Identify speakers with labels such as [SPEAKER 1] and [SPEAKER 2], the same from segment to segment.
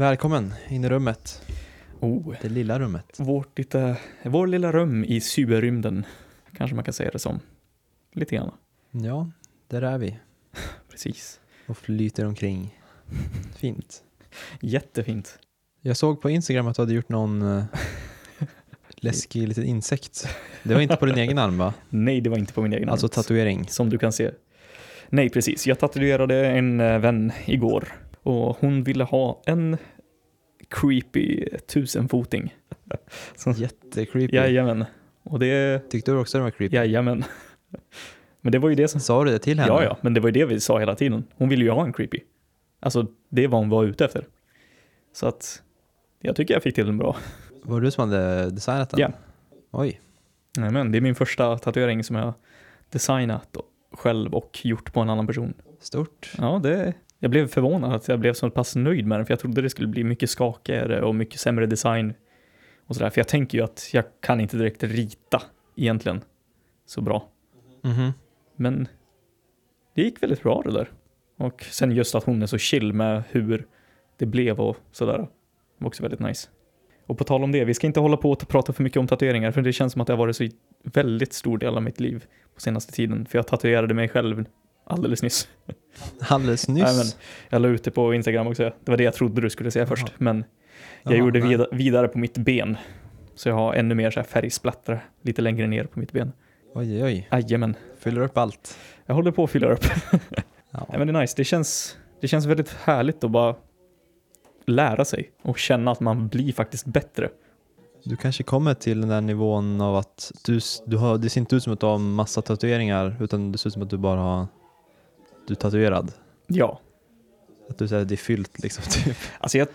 [SPEAKER 1] Välkommen in i rummet,
[SPEAKER 2] Oh,
[SPEAKER 1] det lilla rummet.
[SPEAKER 2] vårt lite, vår lilla rum i cyberrymden, kanske man kan säga det som. Lite grann,
[SPEAKER 1] Ja, där är vi
[SPEAKER 2] precis.
[SPEAKER 1] och flyter omkring. Fint.
[SPEAKER 2] Jättefint.
[SPEAKER 1] Jag såg på Instagram att du hade gjort någon eh, läskig liten insekt. Det var inte på din egen arm va?
[SPEAKER 2] Nej, det var inte på min egen
[SPEAKER 1] Alltså
[SPEAKER 2] hand,
[SPEAKER 1] tatuering.
[SPEAKER 2] Som du kan se. Nej, precis. Jag tatuerade en eh, vän igår och hon ville ha en creepy tusenfoting.
[SPEAKER 1] Jättecreepy.
[SPEAKER 2] Jajamän. Och det,
[SPEAKER 1] Tyckte du också den var creepy?
[SPEAKER 2] jajamän. Men det var ju det som
[SPEAKER 1] Sa du det till henne?
[SPEAKER 2] Ja, ja, men det var ju det vi sa hela tiden. Hon ville ju ha en creepy. Alltså, det var hon var ute efter. Så att, jag tycker jag fick till den bra.
[SPEAKER 1] Var det du som hade designat den?
[SPEAKER 2] Ja.
[SPEAKER 1] Oj,
[SPEAKER 2] Nej, men det är min första tatuering som jag designat själv och gjort på en annan person.
[SPEAKER 1] stort.
[SPEAKER 2] Ja, det... Jag blev förvånad att jag blev så pass nöjd med den, för jag trodde det skulle bli mycket skakigare och mycket sämre design. Och sådär, för jag tänker ju att jag kan inte direkt rita egentligen så bra.
[SPEAKER 1] Mhm.
[SPEAKER 2] Men det gick väldigt bra det där. Och sen just att hon är så chill med hur det blev och sådär. Det var också väldigt nice. Och på tal om det, vi ska inte hålla på och prata för mycket om tatueringar för det känns som att det har varit så i- väldigt stor del av mitt liv på senaste tiden. För jag tatuerade mig själv alldeles nyss.
[SPEAKER 1] Alldeles nyss.
[SPEAKER 2] Nej, men jag la ut det på Instagram också. Det var det jag trodde du skulle säga
[SPEAKER 1] Jaha.
[SPEAKER 2] först. Men jag
[SPEAKER 1] Jaha,
[SPEAKER 2] gjorde
[SPEAKER 1] nej.
[SPEAKER 2] vida- vidare på mitt ben. Så jag har ännu mer så här färgsplattar lite längre ner på mitt ben.
[SPEAKER 1] Oj, oj, oj.
[SPEAKER 2] Jajamän,
[SPEAKER 1] Fyller upp allt.
[SPEAKER 2] jag håller på att fylla upp.
[SPEAKER 1] Ja.
[SPEAKER 2] Nej, men det är nice. Det känns, det känns väldigt härligt att bara lära sig och känna att man blir faktiskt bättre.
[SPEAKER 1] Du kanske kommer till den där nivån av att du, du har, det ser inte ut som att du har massa tatueringar utan det ser ut som att du bara har, du är tatuerad.
[SPEAKER 2] Ja,
[SPEAKER 1] Att du säger det är fyllt liksom. Typ.
[SPEAKER 2] alltså jag,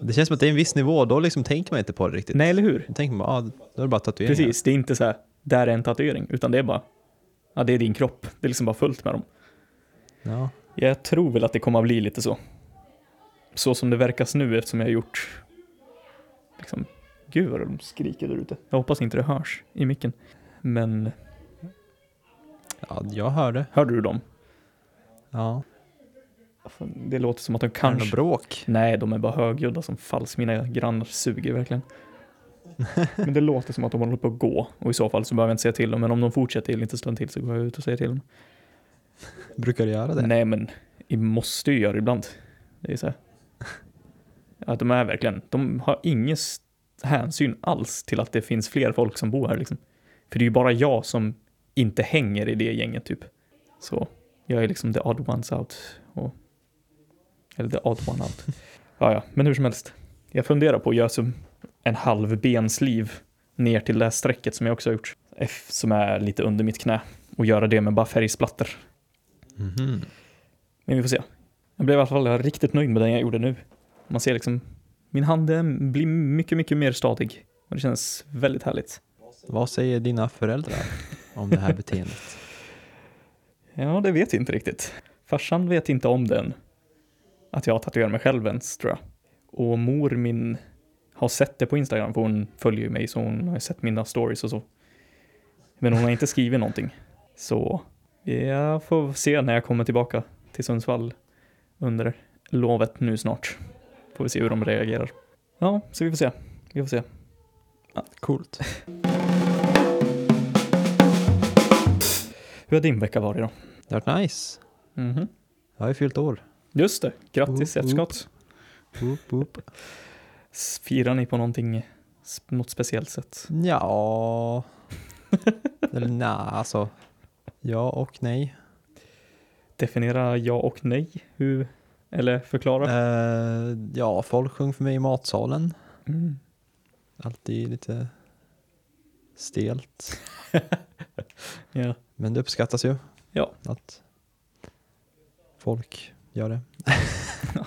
[SPEAKER 1] Det känns som att det är en viss nivå, då liksom tänker man inte på det riktigt.
[SPEAKER 2] nej eller hur?
[SPEAKER 1] Då tänker man bara, ah, då är det bara tatueringar.
[SPEAKER 2] Precis, det är inte så här, där är en tatuering, utan det är bara, ja det är din kropp, det är liksom bara fullt med dem.
[SPEAKER 1] Ja.
[SPEAKER 2] Jag tror väl att det kommer att bli lite så. Så som det verkas nu eftersom jag har gjort, liksom, gud vad de skriker där ute. Jag hoppas inte det hörs i micken. Men,
[SPEAKER 1] ja, jag hörde.
[SPEAKER 2] hörde du dem?
[SPEAKER 1] Ja.
[SPEAKER 2] Det låter som att de
[SPEAKER 1] Är det något
[SPEAKER 2] kanske...
[SPEAKER 1] bråk?
[SPEAKER 2] Nej, de är bara högljudda som falls. Mina grannar suger verkligen. Men det låter som att de håller på att gå och i så fall så behöver jag inte säga till dem. Men om de fortsätter eller inte stanna till så går jag ut och säger till dem.
[SPEAKER 1] Brukar du göra det?
[SPEAKER 2] Nej, men vi måste ju göra det ibland. Det är så här. Att de är verkligen, de har ingen s- hänsyn alls till att det finns fler folk som bor här liksom. För det är ju bara jag som inte hänger i det gänget typ. Så jag är liksom the odd ones out. Och, eller the odd one out. ja, ja, men hur som helst. Jag funderar på att göra som en halv bensliv ner till det här strecket som jag också har gjort. F som är lite under mitt knä. Och göra det med bara färgsplattor.
[SPEAKER 1] Mhm.
[SPEAKER 2] Men vi får se. Jag blev i alla fall riktigt nöjd med den jag gjorde nu. Man ser liksom, min hand eh, blir mycket, mycket mer stadig. Och det känns väldigt härligt.
[SPEAKER 1] Vad säger dina föräldrar om det här beteendet?
[SPEAKER 2] Ja, det vet jag inte riktigt. Farsan vet inte om den. Att jag har tatuerat mig själv ens, tror jag. Och mor min har sett det på Instagram, för hon följer ju mig, så hon har ju sett mina stories och så. Men hon har inte skrivit någonting. Så jag får se när jag kommer tillbaka till Sundsvall under lovet nu snart. Får vi se hur de reagerar. Ja, så vi får se. Vi får se.
[SPEAKER 1] Coolt.
[SPEAKER 2] Hur har din vecka varit då?
[SPEAKER 1] Det har varit nice.
[SPEAKER 2] Mhm.
[SPEAKER 1] Jag har ju fyllt år.
[SPEAKER 2] Just det, grattis i
[SPEAKER 1] Oop, oop.
[SPEAKER 2] efterskott.
[SPEAKER 1] Oop, oop.
[SPEAKER 2] S- Firar ni på någonting, s- något speciellt sätt?
[SPEAKER 1] Ja. Eller nej, alltså. Ja och nej.
[SPEAKER 2] Definiera ja och nej, hur, eller förklara.
[SPEAKER 1] Eh, ja, folk sjöng för mig i matsalen.
[SPEAKER 2] Mm.
[SPEAKER 1] Alltid lite stelt.
[SPEAKER 2] Ja.
[SPEAKER 1] Men det uppskattas ju.
[SPEAKER 2] Ja.
[SPEAKER 1] Att folk gör det.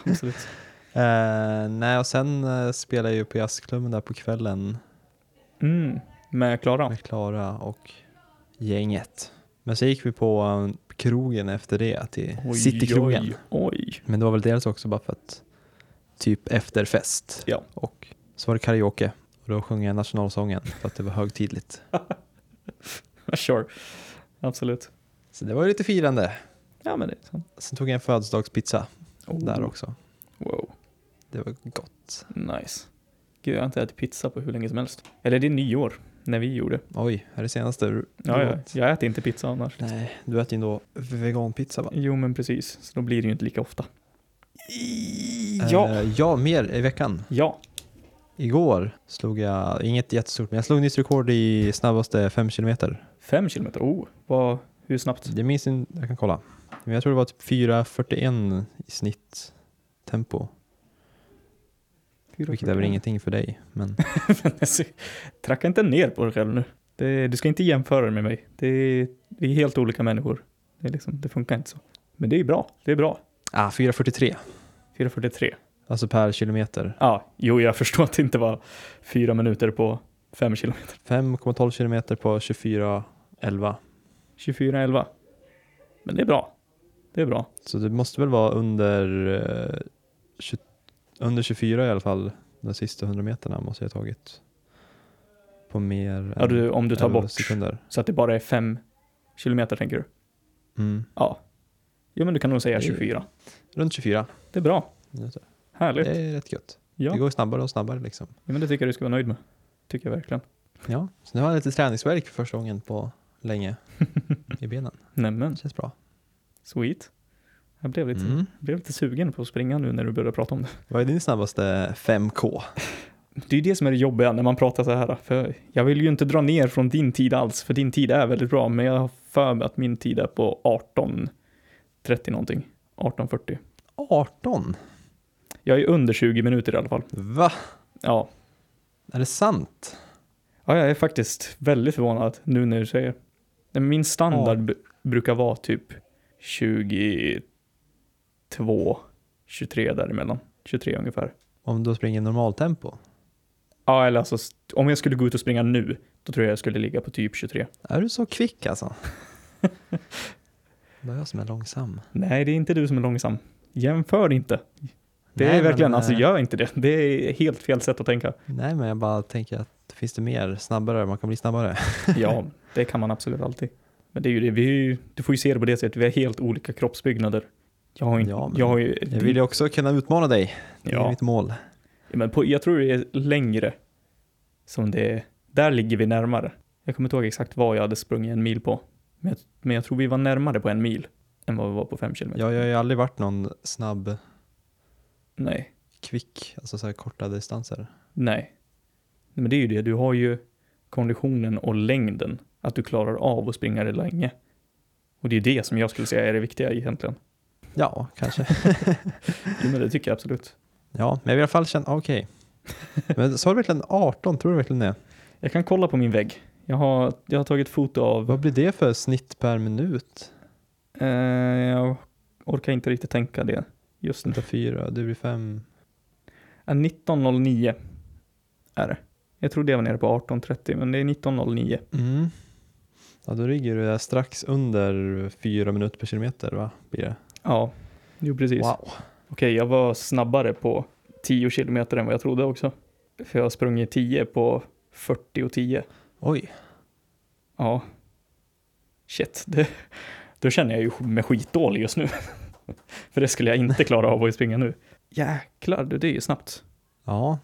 [SPEAKER 2] Absolut.
[SPEAKER 1] Eh, nej, och sen eh, spelar jag ju på jazzklubben där på kvällen
[SPEAKER 2] Mm. Med Klara?
[SPEAKER 1] med Klara och gänget. Men så gick vi på eh, krogen efter det, till Citykrogen.
[SPEAKER 2] Oj, oj.
[SPEAKER 1] Men det var väl dels också bara för att typ efter fest.
[SPEAKER 2] Ja.
[SPEAKER 1] Och så var det karaoke och då sjöng jag nationalsången för att det var högtidligt.
[SPEAKER 2] Sure. Absolut.
[SPEAKER 1] Så det var ju lite firande.
[SPEAKER 2] Ja, men det är sant.
[SPEAKER 1] Sen tog jag en födelsedagspizza
[SPEAKER 2] Oh.
[SPEAKER 1] där också.
[SPEAKER 2] Wow.
[SPEAKER 1] Det var gott.
[SPEAKER 2] Nice. Gud, jag har inte ätit pizza på hur länge som helst. Eller det är nyår, när vi gjorde.
[SPEAKER 1] Oj, här är det senaste du
[SPEAKER 2] Ja, ja,
[SPEAKER 1] åt.
[SPEAKER 2] jag äter inte pizza annars.
[SPEAKER 1] Nej, du äter ju ändå veganpizza va?
[SPEAKER 2] Jo, men precis. Så då blir det ju inte lika ofta. Ja.
[SPEAKER 1] Eh, ja, mer i veckan.
[SPEAKER 2] Ja.
[SPEAKER 1] Igår slog jag, inget jättestort, men jag slog nytt rekord i snabbaste 5 kilometer.
[SPEAKER 2] Fem kilometer. Oh, vad, hur snabbt?
[SPEAKER 1] Det minns inte, jag kan kolla. Men jag tror det var typ 4.41 i snitt tempo. Vilket är väl ingenting för dig, men
[SPEAKER 2] Tracka inte ner på dig själv nu. Det, du ska inte jämföra dig med mig. Det, är- vi är helt olika människor. Det, är liksom, det funkar inte så. Men det är bra. Det är bra.
[SPEAKER 1] ah, 4.43.
[SPEAKER 2] 4.43.
[SPEAKER 1] Alltså per kilometer.
[SPEAKER 2] Ja, jo, jag förstår att det inte var fyra minuter på fem kilometer.
[SPEAKER 1] 5,12 kilometer på 24.11.
[SPEAKER 2] 24.11. Men det är bra. Det är bra.
[SPEAKER 1] Så det måste väl vara under, eh, 20, under 24 i alla fall, de sista 100 meterna måste jag ha tagit. På mer än
[SPEAKER 2] Ja, du, om du tar
[SPEAKER 1] 11
[SPEAKER 2] bort
[SPEAKER 1] sekunder.
[SPEAKER 2] så att det bara är fem kilometer, tänker du?
[SPEAKER 1] Mm.
[SPEAKER 2] Ja. Jo, men du kan nog säga
[SPEAKER 1] Det är-
[SPEAKER 2] 24.
[SPEAKER 1] Runt 24
[SPEAKER 2] Det är bra.
[SPEAKER 1] minuter.
[SPEAKER 2] Härligt.
[SPEAKER 1] Det är rätt gött.
[SPEAKER 2] Ja.
[SPEAKER 1] Det går ju snabbare och snabbare liksom.
[SPEAKER 2] ja, men det tycker jag du ska vara nöjd med. Tycker jag verkligen.
[SPEAKER 1] Ja, så nu har jag lite träningsvärk för första gången på länge i benen.
[SPEAKER 2] Nämen,
[SPEAKER 1] Det känns bra.
[SPEAKER 2] sweet. Jag blev lite,
[SPEAKER 1] Mm.
[SPEAKER 2] jag blev lite sugen på att springa nu när du började prata om det.
[SPEAKER 1] Vad är din snabbaste 5K?
[SPEAKER 2] Det är ju det som är det jobbiga när man pratar så här. För jag vill ju inte dra ner från din tid alls, för din tid är väldigt bra. Men jag har för mig att min tid är på 18.30 någonting. 18.40.
[SPEAKER 1] 18?
[SPEAKER 2] Jag är under 20 minuter i alla fall.
[SPEAKER 1] Va?
[SPEAKER 2] Ja,
[SPEAKER 1] Är det sant?
[SPEAKER 2] Ja, jag är faktiskt väldigt förvånad nu när du säger. Nej, Min standard b- brukar vara typ 22, 23 däremellan. 23 ungefär.
[SPEAKER 1] Om du springer normaltempo?
[SPEAKER 2] Ja, eller alltså st- om jag skulle gå ut och springa nu, då tror jag jag skulle ligga på typ 23.
[SPEAKER 1] Är du så kvick alltså? Det är jag som är långsam.
[SPEAKER 2] Nej, det är inte du som är långsam. Jämför inte. Det
[SPEAKER 1] Nej,
[SPEAKER 2] är verkligen,
[SPEAKER 1] men,
[SPEAKER 2] alltså
[SPEAKER 1] eh,
[SPEAKER 2] gör inte det. Det är helt fel sätt att tänka.
[SPEAKER 1] Nej, men jag bara tänker att finns det mer snabbare? Man kan bli snabbare.
[SPEAKER 2] Ja, det kan man absolut alltid. Men det är ju det, vi är ju, du får ju se det på det sättet, vi har helt olika kroppsbyggnader. Jag har ju inte,
[SPEAKER 1] Ja, men
[SPEAKER 2] jag har ju,
[SPEAKER 1] Jag vill ju också kunna utmana dig. Det är
[SPEAKER 2] Ja.
[SPEAKER 1] mitt mål.
[SPEAKER 2] Ja, men på, jag tror det är längre som det är. Där ligger vi närmare. Jag kommer inte ihåg exakt vad jag hade sprungit en mil på. Men jag, men jag tror vi var närmare på en mil än vad vi var på fem kilometer.
[SPEAKER 1] Jag, jag har ju aldrig varit någon snabb,
[SPEAKER 2] Nej,
[SPEAKER 1] kvick, alltså så här korta distanser.
[SPEAKER 2] nej. Nej, Men det är ju det, du har ju konditionen och längden. Att du klarar av att springa det länge. Och det är det som jag skulle säga är det viktiga egentligen.
[SPEAKER 1] Ja, kanske.
[SPEAKER 2] Jo, men det tycker jag absolut.
[SPEAKER 1] Ja, men jag vill i alla fall känna, ah, okej. Men sa du verkligen 18? Tror du verkligen det?
[SPEAKER 2] Jag kan kolla på min vägg. Jag har, jag har tagit foto av...
[SPEAKER 1] Vad blir det för snitt per minut?
[SPEAKER 2] Eh, jag orkar inte riktigt tänka det just nu. Eh,
[SPEAKER 1] Vänta, fyra, det blir fem.
[SPEAKER 2] Ja, 19.09 är det. Jag trodde jag var nere på 18.30, men det är 19.09.
[SPEAKER 1] Mm. Ja, då ligger du där strax under fyra minuter per kilometer, va? Blir det?
[SPEAKER 2] Ja, jo precis.
[SPEAKER 1] Wow.
[SPEAKER 2] Okej, jag var snabbare på 10 kilometer än vad jag trodde också. För jag har sprungit 10 på 40 och 10.
[SPEAKER 1] Oj.
[SPEAKER 2] Ja. Shit, det, då känner jag ju mig skitdålig just nu. För det skulle jag inte klara av att springa nu. Jäklar, du, det är ju snabbt.
[SPEAKER 1] Ja.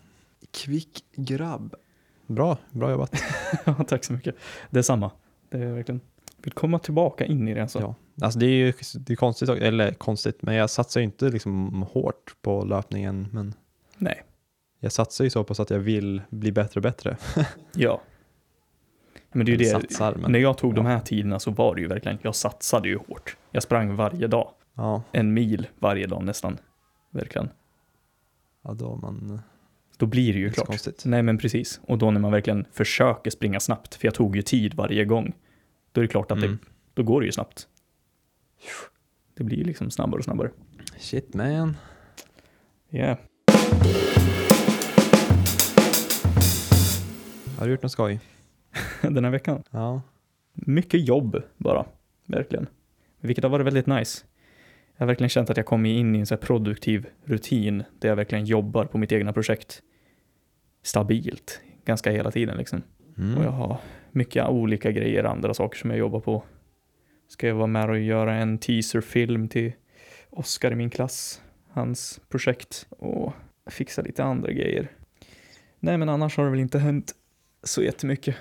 [SPEAKER 1] Kvick grabb. Bra, bra jobbat.
[SPEAKER 2] Ja, tack så mycket. Detsamma. Det är verkligen. Vill komma tillbaka in i det alltså.
[SPEAKER 1] Ja. Alltså det är ju det är konstigt, eller konstigt, men jag satsar ju inte liksom hårt på löpningen, men
[SPEAKER 2] Nej.
[SPEAKER 1] jag satsar ju så pass att jag vill bli bättre och bättre.
[SPEAKER 2] Ja. Men det är ju
[SPEAKER 1] Eller
[SPEAKER 2] det.
[SPEAKER 1] Satsar, men
[SPEAKER 2] När jag tog de
[SPEAKER 1] ja.
[SPEAKER 2] här tiderna så var det ju verkligen, jag satsade ju hårt. Jag sprang varje dag,
[SPEAKER 1] ja,
[SPEAKER 2] en mil varje dag nästan. Verkligen.
[SPEAKER 1] ja, då är man
[SPEAKER 2] Då blir det ju
[SPEAKER 1] inte så
[SPEAKER 2] klart. Mm.
[SPEAKER 1] konstigt.
[SPEAKER 2] Nej men precis. Och då när man verkligen försöker springa snabbt, för jag tog ju tid varje gång, då är det klart att
[SPEAKER 1] Mm.
[SPEAKER 2] det, då går det ju snabbt. Det blir ju liksom snabbare och snabbare.
[SPEAKER 1] Shit man.
[SPEAKER 2] Yeah.
[SPEAKER 1] Har du gjort något skoj?
[SPEAKER 2] Den här veckan.
[SPEAKER 1] Ja.
[SPEAKER 2] Mycket jobb bara, verkligen. Vilket har varit väldigt nice. Jag har verkligen känt att jag kommit in i en så här produktiv rutin där jag verkligen jobbar på mitt egna projekt stabilt, ganska hela tiden liksom.
[SPEAKER 1] Mm.
[SPEAKER 2] Och jag har mycket olika grejer, andra saker som jag jobbar på. Ska jag vara med och göra en teaserfilm till Oscar i min klass, hans projekt. Och fixa lite andra grejer. Nej, men annars har det väl inte hänt så jättemycket.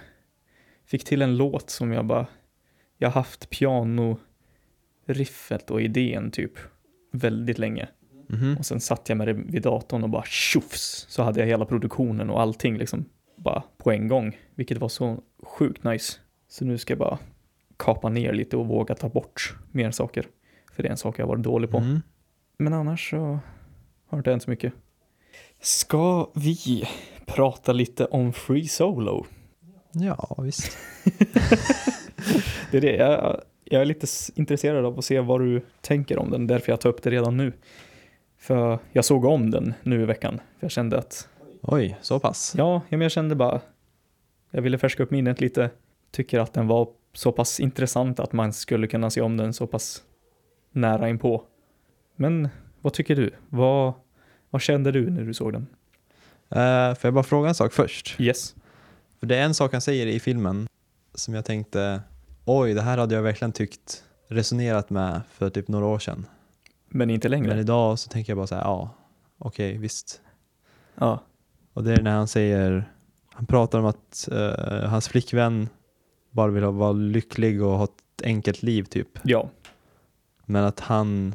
[SPEAKER 2] Fick till en låt som jag bara, jag har haft pianoriffet och idén typ väldigt länge.
[SPEAKER 1] Mhm.
[SPEAKER 2] Och sen satt jag med det vid datorn och bara tjofs, så hade jag hela produktionen och allting liksom bara på en gång, vilket var så sjukt nice. Så nu ska jag bara kapa ner lite och våga ta bort mer saker, för det är en sak jag har varit dålig på.
[SPEAKER 1] Mm.
[SPEAKER 2] Men annars så har det inte hänt så mycket. Ska vi prata lite om Free Solo?
[SPEAKER 1] Ja, visst.
[SPEAKER 2] Det är det, jag, jag är lite s- intresserad av att se vad du tänker om den, därför jag tar upp det redan nu. För jag såg om den nu i veckan, för jag kände att
[SPEAKER 1] Oj, så pass.
[SPEAKER 2] Ja, ja, men jag kände bara, jag ville färska upp minnet lite. Tycker att den var så pass intressant att man skulle kunna se om den så pass nära inpå. Men vad tycker du? Vad, vad kände du när du såg den?
[SPEAKER 1] Eh, får jag bara fråga en sak först?
[SPEAKER 2] Yes.
[SPEAKER 1] För det är en sak han säger i filmen som jag tänkte, oj, det här hade jag verkligen tyckt resonerat med för typ några år sedan.
[SPEAKER 2] Men inte längre?
[SPEAKER 1] Men idag så tänker jag bara så här, ja, okej, visst.
[SPEAKER 2] Ja.
[SPEAKER 1] Och det är när han säger, han pratar om att eh, hans flickvän bara vill ha- vara lycklig och ha ett enkelt liv typ.
[SPEAKER 2] Ja.
[SPEAKER 1] Men att han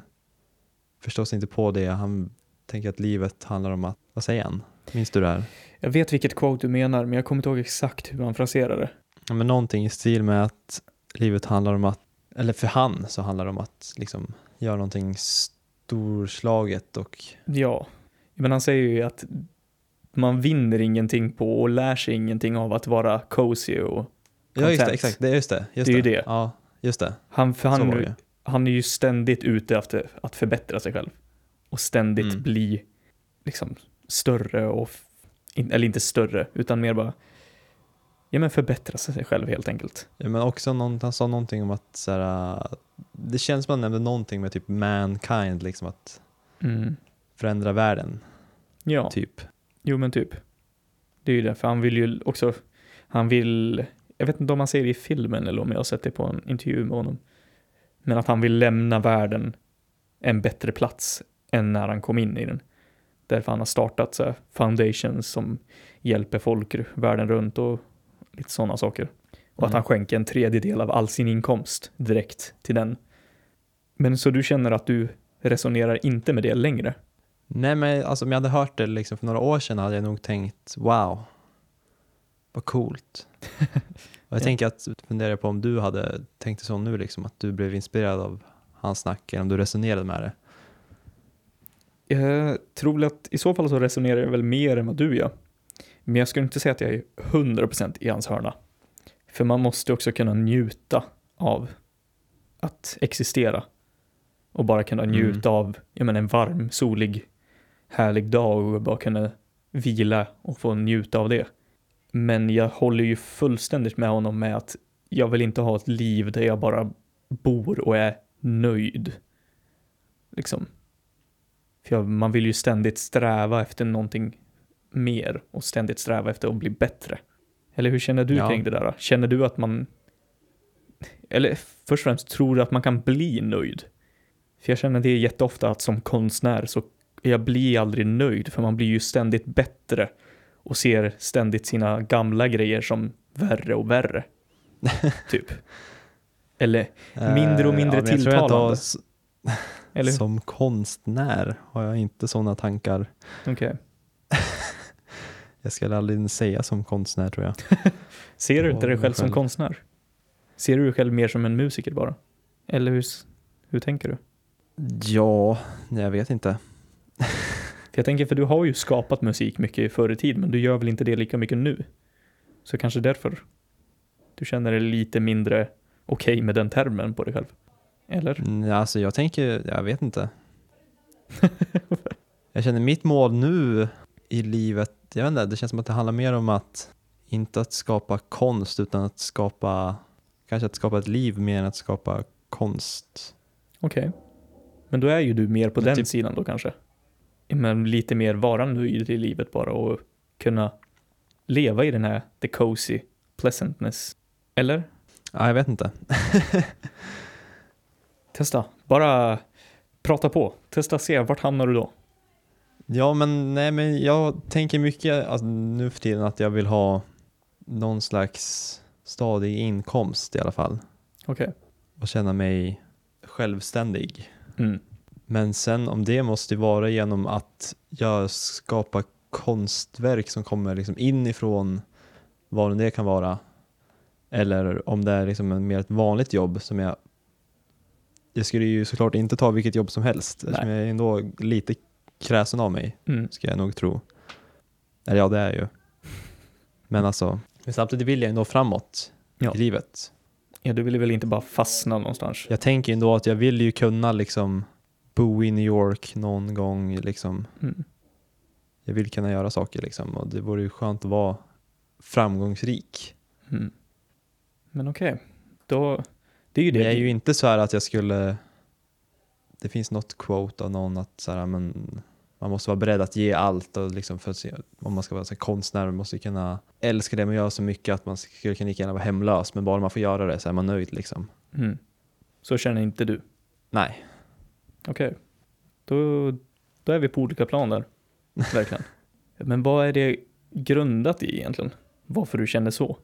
[SPEAKER 1] förstås inte på det. Han tänker att livet handlar om att, vad säger han? Minns du det här?
[SPEAKER 2] Jag vet vilket quote du menar, men jag kommer inte ihåg exakt hur han fraserar det.
[SPEAKER 1] Ja, men någonting i stil med att livet handlar om att, eller för han så handlar det om att liksom göra någonting storslaget och
[SPEAKER 2] Ja. Men han säger ju att man vinner ingenting på och lär sig ingenting av att vara cozy och
[SPEAKER 1] Ja just det,
[SPEAKER 2] Content.
[SPEAKER 1] exakt, det, just det. Just
[SPEAKER 2] Det är ju det.
[SPEAKER 1] Ja, just det.
[SPEAKER 2] han, för
[SPEAKER 1] så
[SPEAKER 2] han,
[SPEAKER 1] var det ju.
[SPEAKER 2] han är ju ständigt ute efter att förbättra sig själv och ständigt
[SPEAKER 1] Mm.
[SPEAKER 2] bli liksom större och, f- in, eller inte större, utan mer bara, ja men förbättra sig själv helt enkelt.
[SPEAKER 1] Ja, men också någon, han sa någonting om att så här, äh, det känns som att han nämnde någonting med typ mankind, liksom att förändra världen,
[SPEAKER 2] Ja,
[SPEAKER 1] typ.
[SPEAKER 2] jo men typ. Det är ju därför han vill ju också, han vill, jag vet inte om han säger det i filmen eller om jag har sett det på en intervju med honom, men att han vill lämna världen en bättre plats än när han kom in i den. Därför han har startat så här foundations som hjälper folk ru- världen runt och lite sådana saker. Och att
[SPEAKER 1] Mm.
[SPEAKER 2] han skänker en tredjedel av all sin inkomst direkt till den. Men så du känner att du resonerar inte med det längre?
[SPEAKER 1] Nej men alltså om jag hade hört det liksom för några år sedan hade jag nog tänkt wow, vad coolt. Och jag
[SPEAKER 2] Ja.
[SPEAKER 1] tänker att, funderar på om du hade tänkt så nu liksom, att du blev inspirerad av hans snack, eller om du resonerade med det.
[SPEAKER 2] Jag Eh, tror väl att i så fall så resonerar jag väl mer än vad du gör. Men jag skulle inte säga att jag är 100% i hans hörna. För man måste också kunna njuta av att existera. Och bara kunna
[SPEAKER 1] Mm.
[SPEAKER 2] njuta av jag menar, en varm, solig, härlig dag och bara kunna vila och få njuta av det. Men jag håller ju fullständigt med honom med att jag vill inte ha ett liv där jag bara bor och är nöjd. Liksom. För jag, man vill ju ständigt sträva efter någonting mer och ständigt sträva efter att bli bättre. Eller hur känner du
[SPEAKER 1] Ja.
[SPEAKER 2] kring det där? då? Känner du att man... Eller först och främst, tror du att man kan bli nöjd? För jag känner det jätteofta att som konstnär så jag blir aldrig nöjd för man blir ju ständigt bättre och ser ständigt sina gamla grejer som värre och värre. typ. Eller, Mindre och
[SPEAKER 1] Eh,
[SPEAKER 2] mindre
[SPEAKER 1] men jag tror jag inte har-
[SPEAKER 2] tilltalande. eller hur?
[SPEAKER 1] Som konstnär har jag inte sådana tankar.
[SPEAKER 2] Okej.
[SPEAKER 1] Jag skulle aldrig säga som konstnär tror jag.
[SPEAKER 2] Ser du inte
[SPEAKER 1] Ja,
[SPEAKER 2] dig
[SPEAKER 1] mig
[SPEAKER 2] själv som
[SPEAKER 1] själv.
[SPEAKER 2] konstnär? Ser du dig själv mer som en musiker bara? Eller hur, s- hur tänker du?
[SPEAKER 1] Ja, nej, jag vet inte.
[SPEAKER 2] För jag tänker, för du har ju skapat musik mycket förr i tiden, men du gör väl inte det lika mycket nu? Så kanske därför du känner dig lite mindre okej med den termen på dig själv? Eller?
[SPEAKER 1] Mm, Alltså jag tänker, jag vet inte. jag känner mitt mål nu i livet, jag vet inte, det känns som att det handlar mer om att inte att skapa konst utan att skapa, kanske att skapa ett liv mer än att skapa konst.
[SPEAKER 2] Okej. Men då är ju du mer på
[SPEAKER 1] Men
[SPEAKER 2] den
[SPEAKER 1] typ-
[SPEAKER 2] sidan då kanske? Men lite mer vara nöjd i livet bara och kunna leva i den här the cozy pleasantness. Eller?
[SPEAKER 1] Ja, jag vet inte.
[SPEAKER 2] Testa. Bara prata på. Testa se, vart hamnar du då?
[SPEAKER 1] Ja, men nej, men jag tänker mycket alltså, nu för tiden att jag vill ha någon slags stadig inkomst i alla fall
[SPEAKER 2] Okej.
[SPEAKER 1] och känna mig självständig.
[SPEAKER 2] Mm.
[SPEAKER 1] Men sen om det måste vara genom att jag skapar konstverk som kommer liksom inifrån vad det kan vara. Eller om det är liksom en, mer ett vanligt jobb som jag... Jag skulle ju såklart inte ta vilket jobb som helst eftersom jag är ändå lite kräsen av mig
[SPEAKER 2] Mm.
[SPEAKER 1] ska jag nog tro. Eller ja, det är jag ju. Men alltså, men samtidigt vill jag ju nå framåt
[SPEAKER 2] Ja.
[SPEAKER 1] i livet.
[SPEAKER 2] Ja, du ville väl inte bara fastna någonstans?
[SPEAKER 1] Jag tänker ju ändå att jag vill ju kunna liksom bo i New York någon gång. Liksom.
[SPEAKER 2] Mm.
[SPEAKER 1] Jag vill kunna göra saker liksom och det vore ju skönt att vara framgångsrik.
[SPEAKER 2] Mm. Men okej, då... Det är ju det.
[SPEAKER 1] Men jag är ju inte så här att jag skulle... Det finns något quote av någon att så här, men man måste vara beredd att ge allt och liksom för att se, om man ska vara så här, konstnär man måste kunna älska det man gör så mycket att man skulle kunna lika gärna vara hemlös men bara man får göra det så är man nöjd liksom.
[SPEAKER 2] Mm. Så känner inte du.
[SPEAKER 1] Nej.
[SPEAKER 2] Okej. Då, då är vi på olika plan där. Verkligen. Men vad är det grundat i egentligen? Varför du känner så?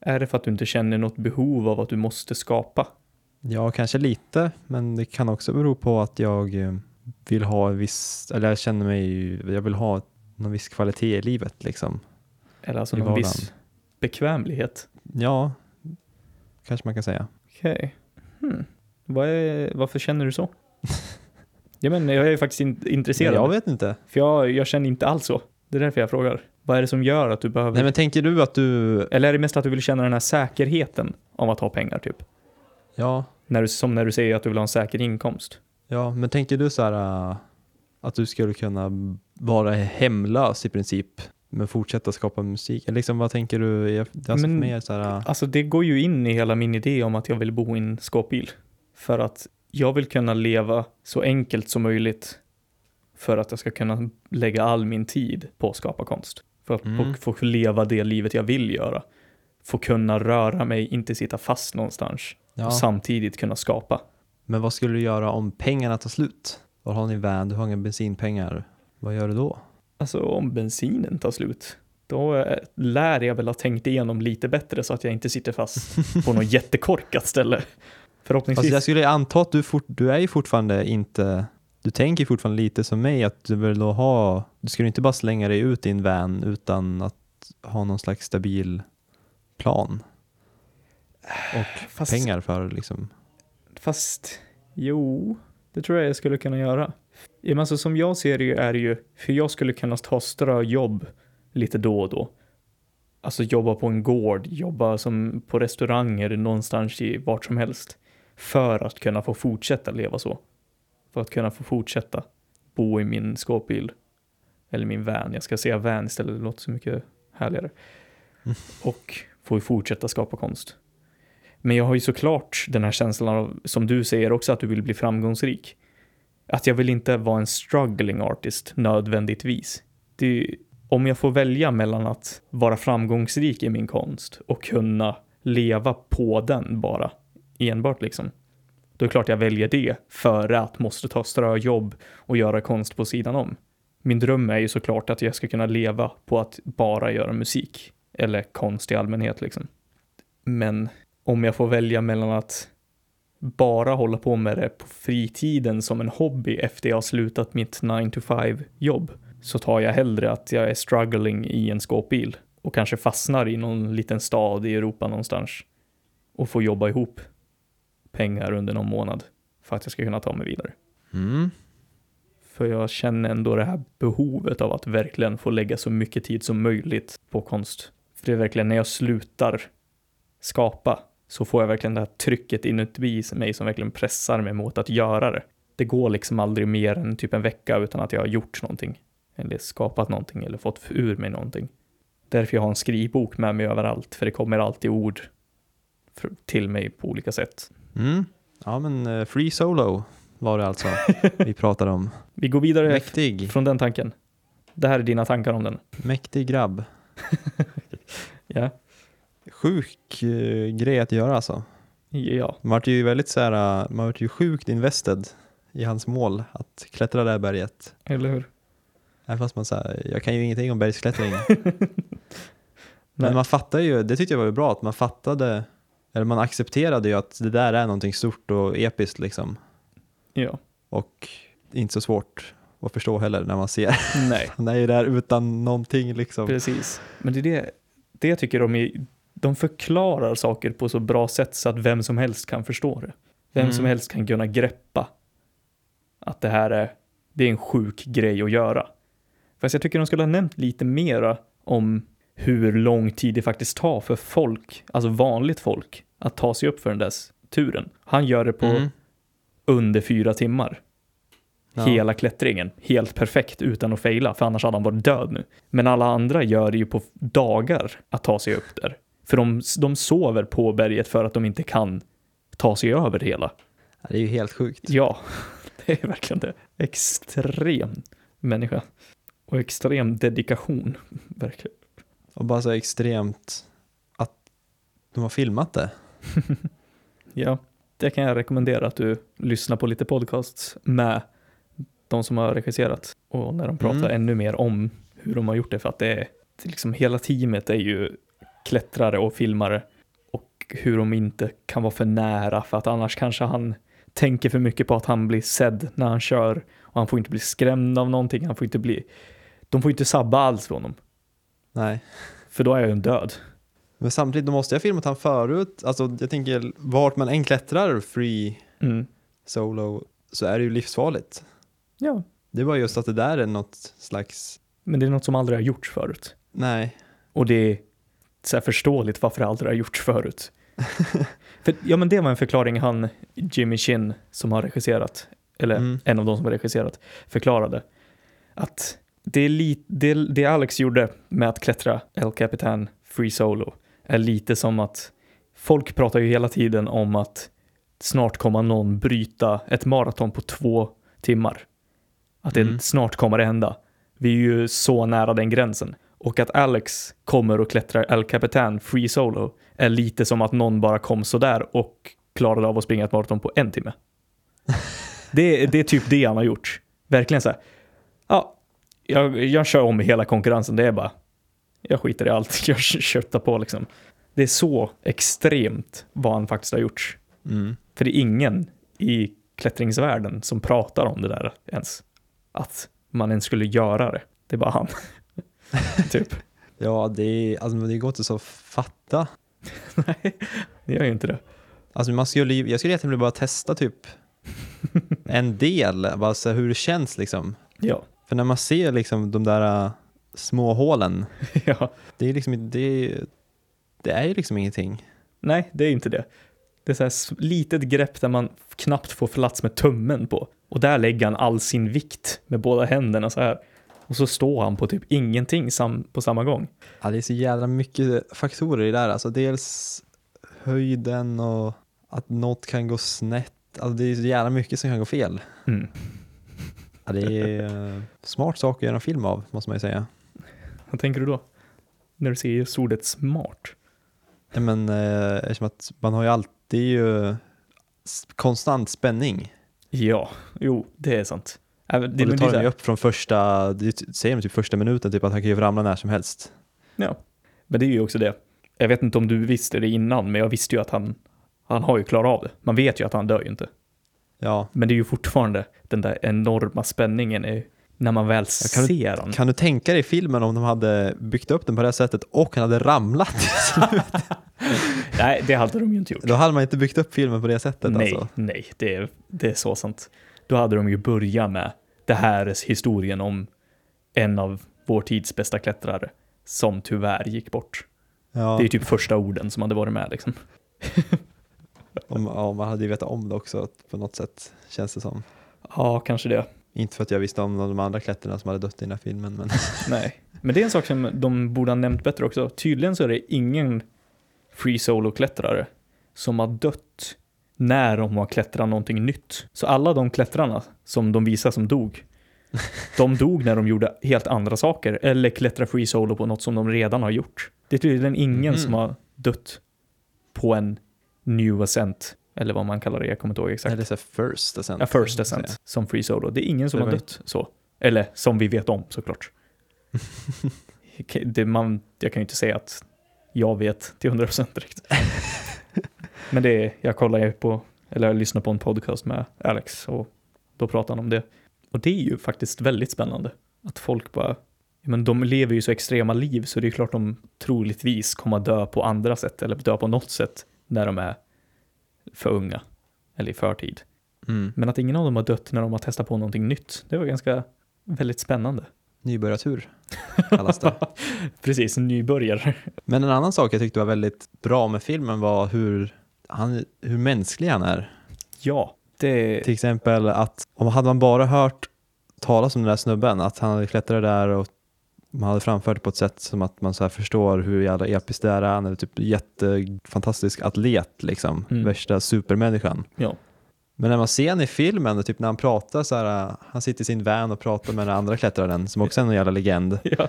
[SPEAKER 2] Är det för att du inte känner något behov av att du måste skapa?
[SPEAKER 1] Ja, kanske lite men det kan också bero på att jag eh, vill ha en viss, eller jag känner mig, jag vill ha någon viss kvalitet i livet liksom.
[SPEAKER 2] Eller alltså
[SPEAKER 1] I
[SPEAKER 2] någon
[SPEAKER 1] vardagen.
[SPEAKER 2] viss bekvämlighet?
[SPEAKER 1] Ja, kanske man kan säga.
[SPEAKER 2] Okej. Hmm. Vad är, varför känner du så? ja, men jag är faktiskt in, intresserad.
[SPEAKER 1] Jag vet inte.
[SPEAKER 2] För jag, jag känner inte alls så. Det är därför jag frågar. Vad är det som gör att du behöver...
[SPEAKER 1] Nej men tänker du att du,
[SPEAKER 2] Eller är det mest att du vill känna den här säkerheten om att ha pengar typ?
[SPEAKER 1] ja,
[SPEAKER 2] När du, som när du säger att du vill ha en säker inkomst.
[SPEAKER 1] Ja, men tänker du så här äh, att du skulle kunna vara hemlös i princip men fortsätta skapa musik? Eller liksom, vad tänker du? Jag- Alltså
[SPEAKER 2] Men-
[SPEAKER 1] för mig är det så här, äh,
[SPEAKER 2] Alltså det går ju in i hela min idé om att jag vill bo i en skåpbil. För att jag vill kunna leva så enkelt som möjligt för att jag ska kunna lägga all min tid på att skapa konst. För att
[SPEAKER 1] Mm.
[SPEAKER 2] få, få leva det livet jag vill göra. Få kunna röra mig, inte sitta fast någonstans. Och
[SPEAKER 1] ja.
[SPEAKER 2] samtidigt kunna skapa.
[SPEAKER 1] Men vad skulle du göra om pengarna tar slut? Var har ni van? Du har inga bensinpengar. Vad gör du då?
[SPEAKER 2] Alltså om bensinen tar slut, då eh, lär jag väl ha tänkt igenom lite bättre så att jag inte sitter fast på något jättekorkat ställe. Förhoppningsvis.
[SPEAKER 1] Alltså jag skulle anta att du, fort, du är ju fortfarande inte, du tänker fortfarande lite som mig att du vill då ha, du skulle inte bara slänga dig ut i en van utan att ha någon slags stabil plan. Och
[SPEAKER 2] Fast-
[SPEAKER 1] pengar för liksom.
[SPEAKER 2] Fast, jo, det tror jag jag skulle kunna göra. Ja, men Alltså, som jag ser det ju är det ju, för jag skulle kunna ta ströjobb lite då och då. Alltså jobba på en gård, jobba som på restauranger någonstans i vart som helst. För att kunna få fortsätta leva så. För att kunna få fortsätta bo i min skåpbil. Eller min van, jag ska säga van istället, det låter så mycket härligare. Och få fortsätta skapa konst. Men jag har ju såklart den här känslan av, som du säger också, att du vill bli framgångsrik. Att jag vill inte vara en struggling artist nödvändigtvis. Det, är ju- om jag får välja mellan att vara framgångsrik i min konst och kunna leva på den bara, enbart liksom. Då är det klart jag väljer det före att måste ta ströjobb och göra konst på sidan om. Min dröm är ju såklart att jag ska kunna leva på att bara göra musik eller konst i allmänhet liksom. Men om jag får välja mellan att bara hålla på med det på fritiden som en hobby efter jag har slutat mitt 9 to 5 jobb så tar jag hellre att jag är struggling i en skåpbil och kanske fastnar i någon liten stad i Europa någonstans och får jobba ihop pengar under någon månad för att jag ska kunna ta mig vidare.
[SPEAKER 1] Mm.
[SPEAKER 2] För jag känner ändå det här behovet av att verkligen få lägga så mycket tid som möjligt på konst. För det är verkligen när jag slutar skapa så får jag verkligen det här trycket inuti mig som verkligen pressar mig mot att göra det. Det går liksom aldrig mer än typ en vecka utan att jag har gjort någonting. Eller skapat någonting eller fått ur mig någonting. Därför jag har en skrivbok med mig överallt, för det kommer alltid ord fr- till mig på olika sätt.
[SPEAKER 1] Mm. Ja men eh, Free Solo var det alltså vi pratade om.
[SPEAKER 2] Vi går vidare
[SPEAKER 1] Mäktig,
[SPEAKER 2] från den tanken. Det här är dina tankar om den.
[SPEAKER 1] mäktig grabb.
[SPEAKER 2] Ja.
[SPEAKER 1] Sjuk eh, grej att göra alltså.
[SPEAKER 2] Ja.
[SPEAKER 1] Man vart ju väldigt så här, eh, man vart ju sjukt invested i hans mål att klättra det här berget.
[SPEAKER 2] Eller hur?
[SPEAKER 1] Även fast man så här, jag kan ju ingenting om bergsklättring. Men man fattar ju, det tyckte jag var ju bra, att man fattade, eller man accepterade ju att det där är någonting stort och episkt liksom.
[SPEAKER 2] Ja.
[SPEAKER 1] Och inte så svårt att förstå heller när man ser.
[SPEAKER 2] Nej,
[SPEAKER 1] Han är ju där utan någonting liksom.
[SPEAKER 2] precis. Men det är det, det jag tycker de är, de förklarar saker på så bra sätt så att vem som helst kan förstå det. Vem
[SPEAKER 1] Mm.
[SPEAKER 2] som helst kan kunna greppa att det här är, det är en sjuk grej att göra. Fast jag tycker de skulle ha nämnt lite mera om hur lång tid det faktiskt tar för folk, alltså vanligt folk, att ta sig upp för den där turen. Han gör det på
[SPEAKER 1] Mm.
[SPEAKER 2] under fyra timmar.
[SPEAKER 1] Ja.
[SPEAKER 2] hela klättringen helt perfekt utan att fejla, för annars hade han varit död nu. Men alla andra gör det ju på dagar att ta sig upp där. För de, de sover på berget för att de inte kan ta sig över det hela.
[SPEAKER 1] Ja, Det är ju helt sjukt.
[SPEAKER 2] Ja, det är verkligen det. Extrem människa. Och extrem dedikation, verkligen.
[SPEAKER 1] Och bara så extremt att de har filmat det.
[SPEAKER 2] Ja, det kan jag rekommendera att du lyssnar på lite podcasts med de som har regisserat och när de pratar
[SPEAKER 1] Mm.
[SPEAKER 2] ännu mer om hur de har gjort det för att det är det är liksom hela teamet är ju klättrare och filmare och hur de inte kan vara för nära för att annars kanske han tänker för mycket på att han blir sedd när han kör och han får inte bli skrämd av någonting, han får inte bli de får inte sabba alls för honom
[SPEAKER 1] Nej.
[SPEAKER 2] för då är jag ju död.
[SPEAKER 1] Men samtidigt, då måste jag ha filmat han förut. Alltså jag tänker, vart man än klättrar free
[SPEAKER 2] Mm.
[SPEAKER 1] solo så är det ju livsfarligt.
[SPEAKER 2] Ja,
[SPEAKER 1] Det är bara just att det där är något slags,
[SPEAKER 2] men det är något som aldrig har gjorts förut.
[SPEAKER 1] nej,
[SPEAKER 2] Och det är så här förståeligt varför det aldrig har gjorts förut. För, ja, men det var en förklaring han, Jimmy Chin, som har regisserat, eller
[SPEAKER 1] Mm.
[SPEAKER 2] en av de som har regisserat, förklarade. Att det, är li- det, det Alex gjorde med att klättra El Capitan Free Solo är lite som att folk pratar ju hela tiden om att snart kommer någon bryta ett maraton på två timmar. Att det
[SPEAKER 1] Mm.
[SPEAKER 2] snart kommer det hända. Vi är ju så nära den gränsen. Och att Alex kommer och klättrar El Capitan Free Solo är lite som att någon bara kom sådär och klarade av att springa ett maraton på en timme. Det, det är typ det han har gjort. Verkligen så här. Ja, jag, jag kör om hela konkurrensen. Det är bara, jag skiter i allt. Jag köttar på liksom. Det är så extremt vad han faktiskt har gjort.
[SPEAKER 1] mm.
[SPEAKER 2] För det är ingen i klättringsvärlden som pratar om det där ens. Att man ens skulle göra det. Det är bara han. typ.
[SPEAKER 1] Ja, det, är, alltså, men det går inte så att fatta.
[SPEAKER 2] Nej, det gör ju inte det.
[SPEAKER 1] Alltså, man skulle, ju- jag skulle egentligen vilja bara testa typ en del, bara så här hur det känns liksom.
[SPEAKER 2] Ja,
[SPEAKER 1] För när man ser liksom de där äh, små hålen,
[SPEAKER 2] ja.
[SPEAKER 1] det är liksom, det, är- det är ju liksom ingenting.
[SPEAKER 2] Nej, det är ju inte det. Det är så här s- litet grepp där man knappt får plats med tummen på. Och där lägger han all sin vikt med båda händerna så här. Och så står han på typ ingenting sam- på samma gång.
[SPEAKER 1] Ja, det är så jävla mycket faktorer i det där. Alltså dels höjden och att något kan gå snett. Alltså det är så jävla mycket som kan gå fel.
[SPEAKER 2] Mm.
[SPEAKER 1] Ja, det är eh, smart sak att göra en film av, måste man ju säga.
[SPEAKER 2] Vad tänker du då? När du säger just ordet smart?
[SPEAKER 1] Ja, men eh, eftersom att man har ju alltid det är ju s- konstant spänning.
[SPEAKER 2] Ja, jo, det är sant. Även-
[SPEAKER 1] Det, och det
[SPEAKER 2] men
[SPEAKER 1] tar
[SPEAKER 2] är så
[SPEAKER 1] de
[SPEAKER 2] här-
[SPEAKER 1] ju upp från första, det t- säger de typ första minuten, typ att han kan ju ramla när som helst.
[SPEAKER 2] Ja, men det är ju också det. Jag vet inte om du visste det innan, men jag visste ju att han, han har ju klarat av det. Man vet ju att han dör ju inte.
[SPEAKER 1] Ja.
[SPEAKER 2] Men det är ju fortfarande den där enorma spänningen är, när man väl
[SPEAKER 1] kan-
[SPEAKER 2] ser honom.
[SPEAKER 1] Kan du tänka dig filmen om de hade byggt upp den på det här sättet och han hade ramlat?
[SPEAKER 2] Nej, det hade de ju inte gjort.
[SPEAKER 1] Då hade man inte byggt upp filmen på det sättet
[SPEAKER 2] nej,
[SPEAKER 1] alltså.
[SPEAKER 2] nej, det är, det är så sant. Då hade de ju börjat med det här är historien om en av vår tids bästa klättrare som tyvärr gick bort.
[SPEAKER 1] Ja,
[SPEAKER 2] Det är ju typ första orden som hade varit med liksom.
[SPEAKER 1] om, ja, man hade ju vetat om det också på något sätt, känns det som.
[SPEAKER 2] Ja, kanske det.
[SPEAKER 1] Inte för att jag visste om de andra klättrarna som hade dött i den här filmen, men
[SPEAKER 2] Nej, men det är en sak som de borde ha nämnt bättre också. Tydligen så är det ingen free solo-klättrare som har dött när de har klättrat någonting nytt. Så alla de klättrarna som de visar som dog, de dog när de gjorde helt andra saker eller klättrade free solo på något som de redan har gjort. Det är tydligen ingen
[SPEAKER 1] Mhm.
[SPEAKER 2] som har dött på en new ascent, eller vad man kallar det, jag kommer inte ihåg exakt.
[SPEAKER 1] eller så här first ascent.
[SPEAKER 2] Ja, first
[SPEAKER 1] kan man säga.
[SPEAKER 2] ascent som free solo. Det är ingen som
[SPEAKER 1] Det
[SPEAKER 2] har
[SPEAKER 1] var-
[SPEAKER 2] dött så Eller som vi vet om såklart. det man, jag kan ju inte säga att jag vet till 100% direkt. Men det är, jag kollar ju på, eller jag lyssnar på en podcast med Alex och då pratar han om det. Och det är ju faktiskt väldigt spännande. Att folk bara, ja, men de lever ju så extrema liv så det är klart de troligtvis kommer att dö på andra sätt eller dö på något sätt när de är för unga eller i förtid.
[SPEAKER 1] Mm.
[SPEAKER 2] Men att ingen av dem har dött när de har testat på någonting nytt, det var ganska väldigt spännande.
[SPEAKER 1] Nybörjartur kallas det.
[SPEAKER 2] Precis, en nybörjare.
[SPEAKER 1] Men en annan sak jag tyckte var väldigt bra med filmen var hur, han, hur mänsklig han är.
[SPEAKER 2] Ja, det...
[SPEAKER 1] Till exempel att om hade man bara hört talas om den där snubben, att han hade klättrat där och man hade framfört det på ett sätt som att man så här förstår hur jävla episkt det här är. Han är typ jättefantastisk atlet, liksom.
[SPEAKER 2] Mm.
[SPEAKER 1] värsta supermänniskan.
[SPEAKER 2] Ja.
[SPEAKER 1] Men när man ser han i filmen, typ när han pratar så här, han sitter i sin van och pratar med den andra klättraren som också är en jävla legend,
[SPEAKER 2] Ja,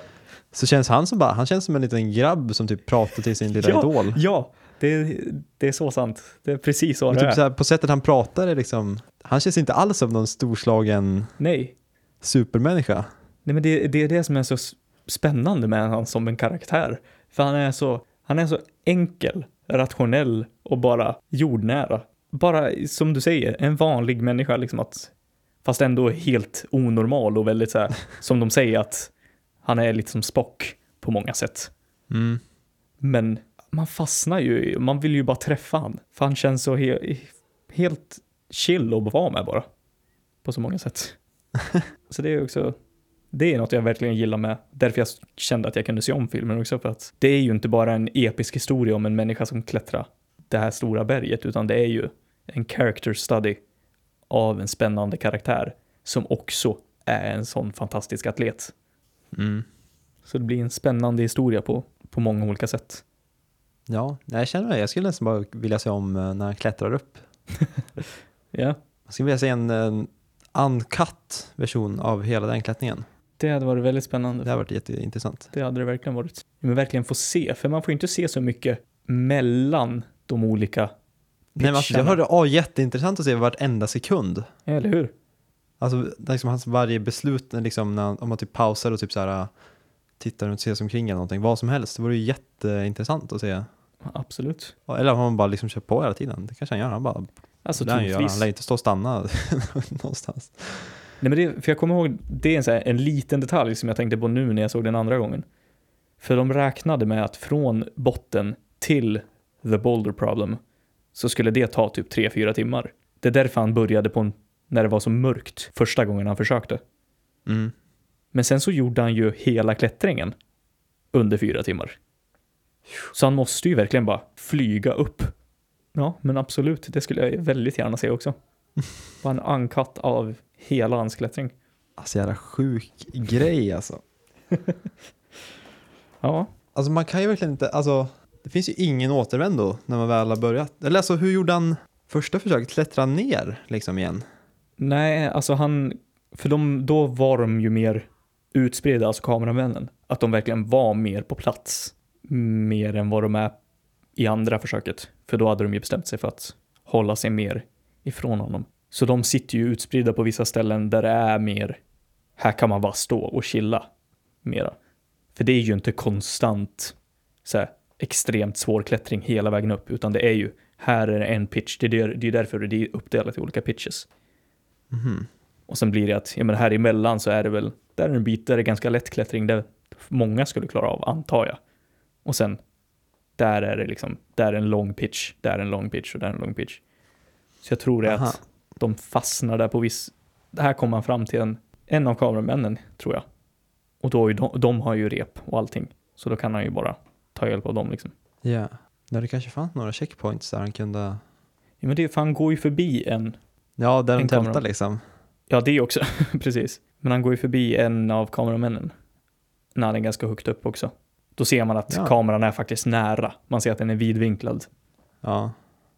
[SPEAKER 1] så känns han som bara, han känns som en liten grabb som typ pratar till sin lilla
[SPEAKER 2] Ja.
[SPEAKER 1] idol.
[SPEAKER 2] ja det, det är så sant. Det är precis så
[SPEAKER 1] Och
[SPEAKER 2] det
[SPEAKER 1] typ
[SPEAKER 2] är.
[SPEAKER 1] så här, på sättet han pratar är liksom, han känns inte alls som någon storslagen
[SPEAKER 2] Nej.
[SPEAKER 1] supermänniska.
[SPEAKER 2] Nej, men det, det är det som är så s- spännande med han som en karaktär. För han är så, han är så enkel, rationell och bara jordnära. Bara, som du säger, en vanlig människa liksom att, fast ändå helt onormal och väldigt så här, som de säger att han är lite som Spock på många sätt.
[SPEAKER 1] Mm.
[SPEAKER 2] Men man fastnar ju, i- man vill ju bara träffa han. För han känns så he- helt chill att vara med bara. På så många sätt. så det är också, det är något jag verkligen gillar med, därför jag kände att jag kunde se om filmen också. För att det är ju inte bara en episk historia om en människa som klättrar det här stora berget, utan det är ju en character study av en spännande karaktär som också är en sån fantastisk atlet.
[SPEAKER 1] Mm.
[SPEAKER 2] Så det blir en spännande historia på, på många olika sätt.
[SPEAKER 1] Ja, nej, jag känner det. Jag skulle nästan bara vilja se om eh, när han klättrar upp.
[SPEAKER 2] Ja.
[SPEAKER 1] Jag skulle vilja se en, en uncut version av hela den klättringen.
[SPEAKER 2] Det hade varit väldigt spännande.
[SPEAKER 1] Det har varit jätteintressant.
[SPEAKER 2] Det hade det verkligen varit. Men verkligen få se, för man får ju inte se så mycket mellan de olika,
[SPEAKER 1] Nej, men alltså, jag
[SPEAKER 2] Pitcharna.
[SPEAKER 1] hörde, ja, jätteintressant att se vartenda sekund.
[SPEAKER 2] eller hur?
[SPEAKER 1] Alltså liksom hans varje beslut, när liksom, när, han- om man typ pausar och typ så här, äh, tittar runt, ser sig omkring eller någonting, vad som helst. Det vore ju jätteintressant att se.
[SPEAKER 2] Absolut.
[SPEAKER 1] Ja, Eller om han bara liksom kör på hela tiden. Det kanske han gör. Han bara,
[SPEAKER 2] Alltså
[SPEAKER 1] det lär han göra. Han
[SPEAKER 2] troligtvis.
[SPEAKER 1] lär inte stå och stanna någonstans.
[SPEAKER 2] Nej, men det, för jag kommer ihåg, det är en, så här, en liten detalj som jag tänkte på nu när jag såg den andra gången. För de räknade med att från botten till the boulder problem så skulle det ta typ 3-4 timmar. Det är därför han började på en, när det var så mörkt första gången han försökte.
[SPEAKER 1] Mm.
[SPEAKER 2] Men sen så gjorde han ju hela klättringen under fyra timmar. Så han måste ju verkligen bara flyga upp. Ja, men absolut, det skulle jag väldigt gärna se också. Bara en uncut av hela hans klättring.
[SPEAKER 1] Alltså jävla sjuk grej alltså.
[SPEAKER 2] Ja,
[SPEAKER 1] Alltså man kan ju verkligen inte, alltså det finns ju ingen återvändo när man väl har börjat. Eller alltså hur gjorde han första försöket? Klättra han ner liksom igen?
[SPEAKER 2] nej, alltså han, för de, då var de ju mer utspridda, alltså kameramännen. Att de verkligen var mer på plats. Mer än vad de är i andra försöket. För då hade de ju bestämt sig för att hålla sig mer ifrån honom. Så de sitter ju utspridda på vissa ställen där det är mer, här kan man bara stå och chilla mera. För det är ju inte konstant så här, extremt svår klättring hela vägen upp, utan det är ju, här är det en pitch, det är där- det är därför det är uppdelat i olika pitches.
[SPEAKER 1] Mhm.
[SPEAKER 2] Och sen blir det att, ja men här emellan så är det väl, där är en bit där det är ganska lätt klättring, där många skulle klara av, antar jag. Och sen, där är det liksom, där är en lång pitch, där är en lång pitch och där är en lång pitch. Så jag tror det är
[SPEAKER 1] Aha.
[SPEAKER 2] att de fastnar där på viss, det här kommer man fram till en, en av kameramännen, tror jag. Och då har ju de, de har ju rep och allting, så då kan han ju bara ta hjälp av dem liksom.
[SPEAKER 1] Ja. Ja, det kanske fanns några checkpoints där han kunde,
[SPEAKER 2] Ja men det, är- för han går ju förbi en
[SPEAKER 1] ja där de
[SPEAKER 2] En kamera.
[SPEAKER 1] tältar liksom.
[SPEAKER 2] Ja, det också. Precis. Men han går ju förbi en av kameramännen. När han är ganska högt upp också. Då ser man att
[SPEAKER 1] Ja.
[SPEAKER 2] kameran är faktiskt nära. Man ser att den är vidvinklad.
[SPEAKER 1] Ja.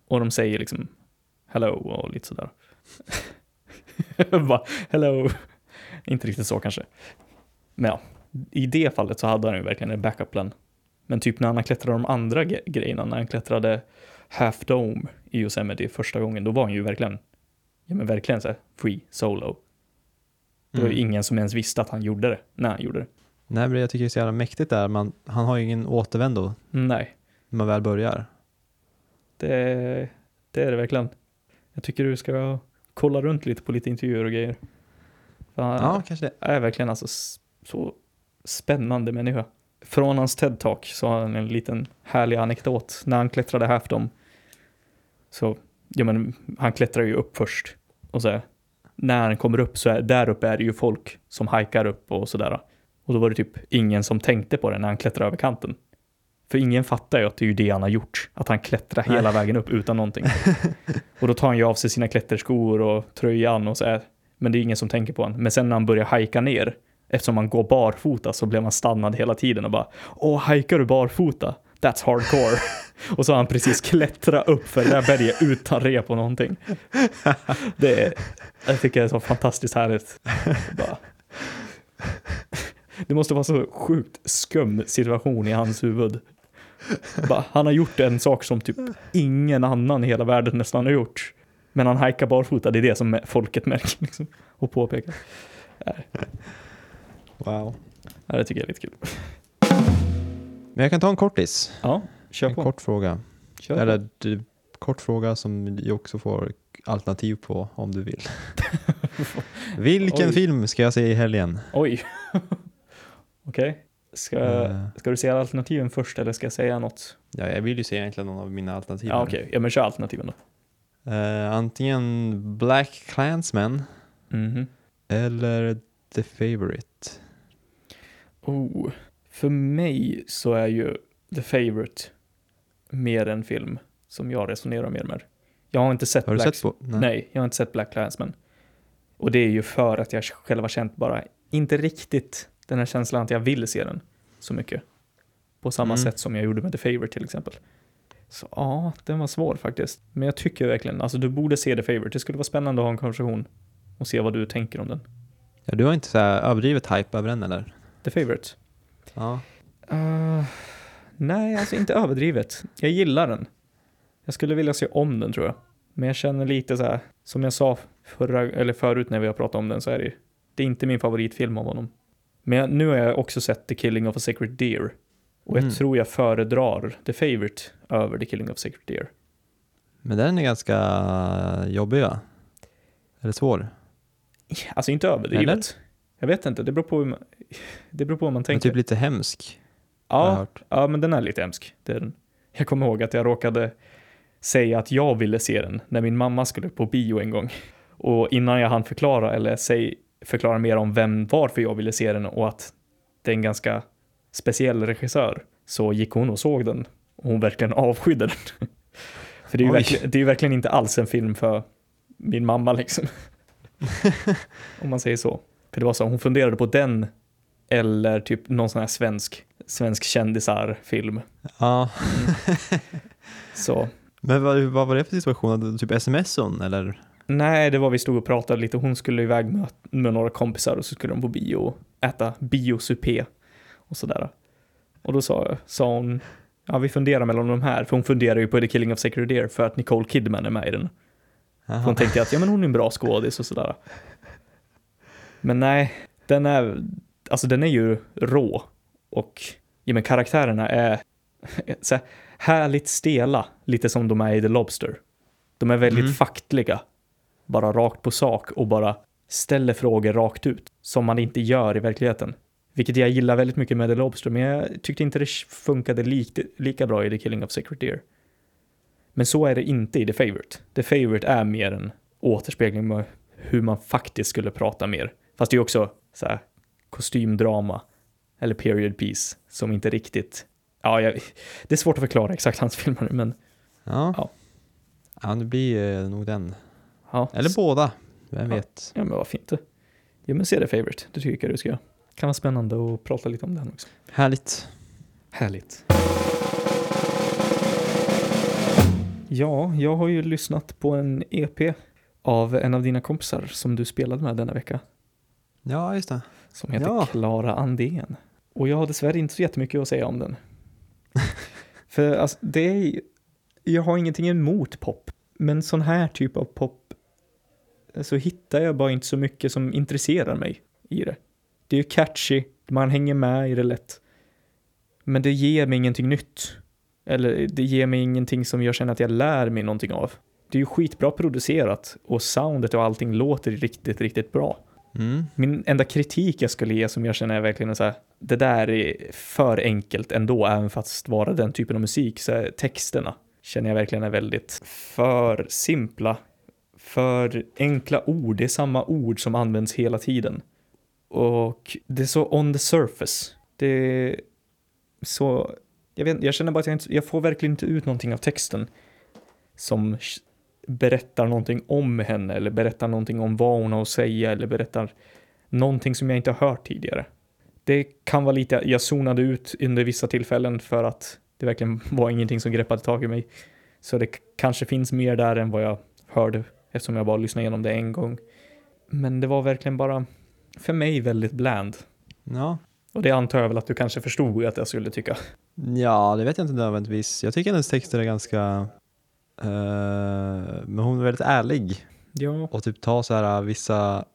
[SPEAKER 2] Och de säger liksom hello och lite sådär. Bara hello. Inte riktigt så kanske. Men ja, i det fallet så hade han ju verkligen en backup plan. Men typ när han klättrade de andra ge- grejerna, när han klättrade Half Dome i Yosemite första gången, då var han ju verkligen, ja men verkligen så här free solo. Det var ju
[SPEAKER 1] Mm.
[SPEAKER 2] ingen som ens visste att han gjorde det när han gjorde det.
[SPEAKER 1] Nej, men jag tycker det är så jävla mäktigt där. Man, han har ju ingen återvändo
[SPEAKER 2] Nej,
[SPEAKER 1] när man väl börjar.
[SPEAKER 2] det, det är det verkligen. Jag tycker du ska kolla runt lite på lite intervjuer och grejer. För han
[SPEAKER 1] Ja, kanske det.
[SPEAKER 2] är verkligen alltså s- så spännande människa. Från hans TED-talk så har han en liten härlig anekdot. När han klättrade Halfdom så, ja men han klättrar ju upp först och så här, när han kommer upp så är, där uppe är det ju folk som hajkar upp och sådär. Och då var det typ ingen som tänkte på det när han klättrade över kanten. För ingen fattar ju att det är ju det han har gjort, att han klättrar
[SPEAKER 1] Nej.
[SPEAKER 2] hela vägen upp utan någonting. och då tar han ju av sig sina klätterskor och tröjan och så här. Men det är ingen som tänker på honom. Men sen när han börjar hajka ner, eftersom han går barfota så blir man stannad hela tiden och bara Åh, hajkar du barfota? That's hardcore. och så har han precis klättrat upp för det där berget utan rep och någonting. Det är, jag tycker det är så fantastiskt härligt. Bara. Det måste vara så sjukt skum situation i hans huvud. Bara, han har gjort en sak som typ ingen annan i hela världen nästan har gjort. Men han hajkar barfota, det är det som folket märker liksom, och påpekar.
[SPEAKER 1] Wow.
[SPEAKER 2] Ja, det tycker jag är lite kul.
[SPEAKER 1] Men jag kan ta en kortis.
[SPEAKER 2] Ja, kör
[SPEAKER 1] En
[SPEAKER 2] på.
[SPEAKER 1] kort fråga.
[SPEAKER 2] kör på.
[SPEAKER 1] Eller du, kort fråga som du också får alternativ på om du vill. Vilken
[SPEAKER 2] Oj.
[SPEAKER 1] film ska jag se i helgen?
[SPEAKER 2] Oj. Okej. Ska,
[SPEAKER 1] Eh,
[SPEAKER 2] ska du säga alternativen först eller ska jag säga något?
[SPEAKER 1] ja, jag vill ju se egentligen någon av mina alternativ.
[SPEAKER 2] Ja,
[SPEAKER 1] här.
[SPEAKER 2] okej. Ja, men kör alternativen då.
[SPEAKER 1] Eh, antingen Black Clansman Mm-hmm.
[SPEAKER 2] Mhm.
[SPEAKER 1] eller The Favourite.
[SPEAKER 2] Oh. För mig så är ju The Favourite mer en film som jag resonerar mer med. Jag har inte sett
[SPEAKER 1] Har du
[SPEAKER 2] Black
[SPEAKER 1] sett på? Nej.
[SPEAKER 2] Nej, jag har inte sett Black Clansman. Och det är ju för att jag själv har känt bara inte riktigt den här känslan att jag vill se den så mycket. På samma
[SPEAKER 1] Mm.
[SPEAKER 2] sätt som jag gjorde med The Favourite till exempel. Så ja, den var svår faktiskt. Men jag tycker verkligen, alltså du borde se The Favourite. Det skulle vara spännande att ha en konversation och se vad du tänker om den.
[SPEAKER 1] Ja, du har inte så här överdrivet hype över den eller?
[SPEAKER 2] The Favourite?
[SPEAKER 1] Ja.
[SPEAKER 2] Eh, nej, alltså inte överdrivet. Jag gillar den. Jag skulle vilja se om den tror jag. Men jag känner lite så här, som jag sa förra, eller förut när vi har pratat om den så är det ju, det är inte min favoritfilm av honom. Men jag, nu har jag också sett The Killing of a Sacred Deer. Och jag
[SPEAKER 1] Mm.
[SPEAKER 2] tror jag föredrar The Favourite över The Killing of a Sacred Deer.
[SPEAKER 1] Men den är ganska jobbig va? Eller svår?
[SPEAKER 2] Alltså inte överdrivet. Jag vet inte, det beror på hur man, det beror på hur man
[SPEAKER 1] Men
[SPEAKER 2] tänker.
[SPEAKER 1] typ lite hemsk. har jag
[SPEAKER 2] ja,
[SPEAKER 1] hört.
[SPEAKER 2] Ja, men den är lite hemsk. Det är den. Jag kommer ihåg att jag råkade säga att jag ville se den när min mamma skulle på bio en gång. Och innan jag hann förklara, eller säg, förklara mer om vem, varför jag ville se den och att det är en ganska speciell regissör, så gick hon och såg den. Och hon verkligen avskydde den. För det är ju
[SPEAKER 1] Oj.
[SPEAKER 2] verkligen, det är ju verkligen inte alls en film för min mamma liksom. om man säger så. För det var så, hon funderade på den eller typ någon sån här svensk, svensk kändisar-film.
[SPEAKER 1] Ja.
[SPEAKER 2] Så
[SPEAKER 1] Men vad, vad var det för situation? Hade du Typ sms on eller?
[SPEAKER 2] nej, det var vi stod och pratade lite. Hon skulle iväg med, med några kompisar och så skulle de på bio och äta biosupé och sådär. Och då sa, sa hon, ja vi funderar mellan de här, för hon funderar ju på The Killing of Sacred Deer för att Nicole Kidman är med i den.
[SPEAKER 1] Jaha.
[SPEAKER 2] Hon tänkte att ja, men hon är en bra skådis och sådär. Men nej, den är, alltså den är ju rå och ja, men karaktärerna är så här, härligt stela, lite som de är i The Lobster. De är väldigt
[SPEAKER 1] Mm.
[SPEAKER 2] faktliga, bara rakt på sak och bara ställer frågor rakt ut som man inte gör i verkligheten. Vilket jag gillar väldigt mycket med The Lobster, men jag tyckte inte det funkade likt, lika bra i The Killing of Sacred Deer. Men så är det inte i The Favourite. The Favourite är mer en återspegling av hur man faktiskt skulle prata mer. Fast det är också så här, kostymdrama eller period piece som inte riktigt... Ja, jag, det är svårt att förklara exakt hans filmer, men
[SPEAKER 1] Ja.
[SPEAKER 2] Ja.
[SPEAKER 1] Ja. det blir eh, nog den.
[SPEAKER 2] ja.
[SPEAKER 1] Eller båda. Vem
[SPEAKER 2] Ja.
[SPEAKER 1] vet?
[SPEAKER 2] Ja, men vad fint det. Ja, men se The Favourite. Det tycker jag du ska göra. Kan vara spännande att prata lite om den också.
[SPEAKER 1] Härligt.
[SPEAKER 2] Härligt. Ja, jag har ju lyssnat på en EP av en av dina kompisar som du spelade med denna vecka.
[SPEAKER 1] Ja, just det.
[SPEAKER 2] Som heter
[SPEAKER 1] Ja.
[SPEAKER 2] Klara Andén. Och jag har dessvärre inte så jättemycket att säga om den. För alltså, det är, jag har ingenting emot pop, men sån här typ av pop så hittar jag bara inte så mycket som intresserar mig i det. Det är ju catchy, man hänger med i det lätt. Men det ger mig ingenting nytt. Eller det ger mig ingenting som jag känner att jag lär mig någonting av. Det är ju skitbra producerat och soundet och allting låter riktigt, riktigt bra.
[SPEAKER 1] Mm.
[SPEAKER 2] Min enda kritik jag skulle ge som jag känner är verkligen så här, det där är för enkelt ändå, även fast vara den typen av musik, så här, texterna känner jag verkligen är väldigt för simpla, för enkla ord, det är samma ord som används hela tiden. Och det är så on the surface, det är så, jag vet jag känner bara att jag inte, jag får verkligen inte ut någonting av texten som sh- berättar någonting om henne eller berättar någonting om vad hon har att säga eller berättar någonting som jag inte har hört tidigare. Det kan vara lite, jag zonade ut under vissa tillfällen för att det verkligen var ingenting som greppade tag i mig. Så det k- kanske finns mer där än vad jag hörde eftersom jag bara lyssnade igenom det en gång. Men det var verkligen bara, för mig, väldigt bland.
[SPEAKER 1] Ja.
[SPEAKER 2] Och det antar jag väl att du kanske förstod att jag skulle tycka.
[SPEAKER 1] ja, det vet jag inte nödvändigtvis. Jag tycker hennes texter är ganska... eh, men hon är väldigt ärlig
[SPEAKER 2] Ja.
[SPEAKER 1] och typ tar så här vissa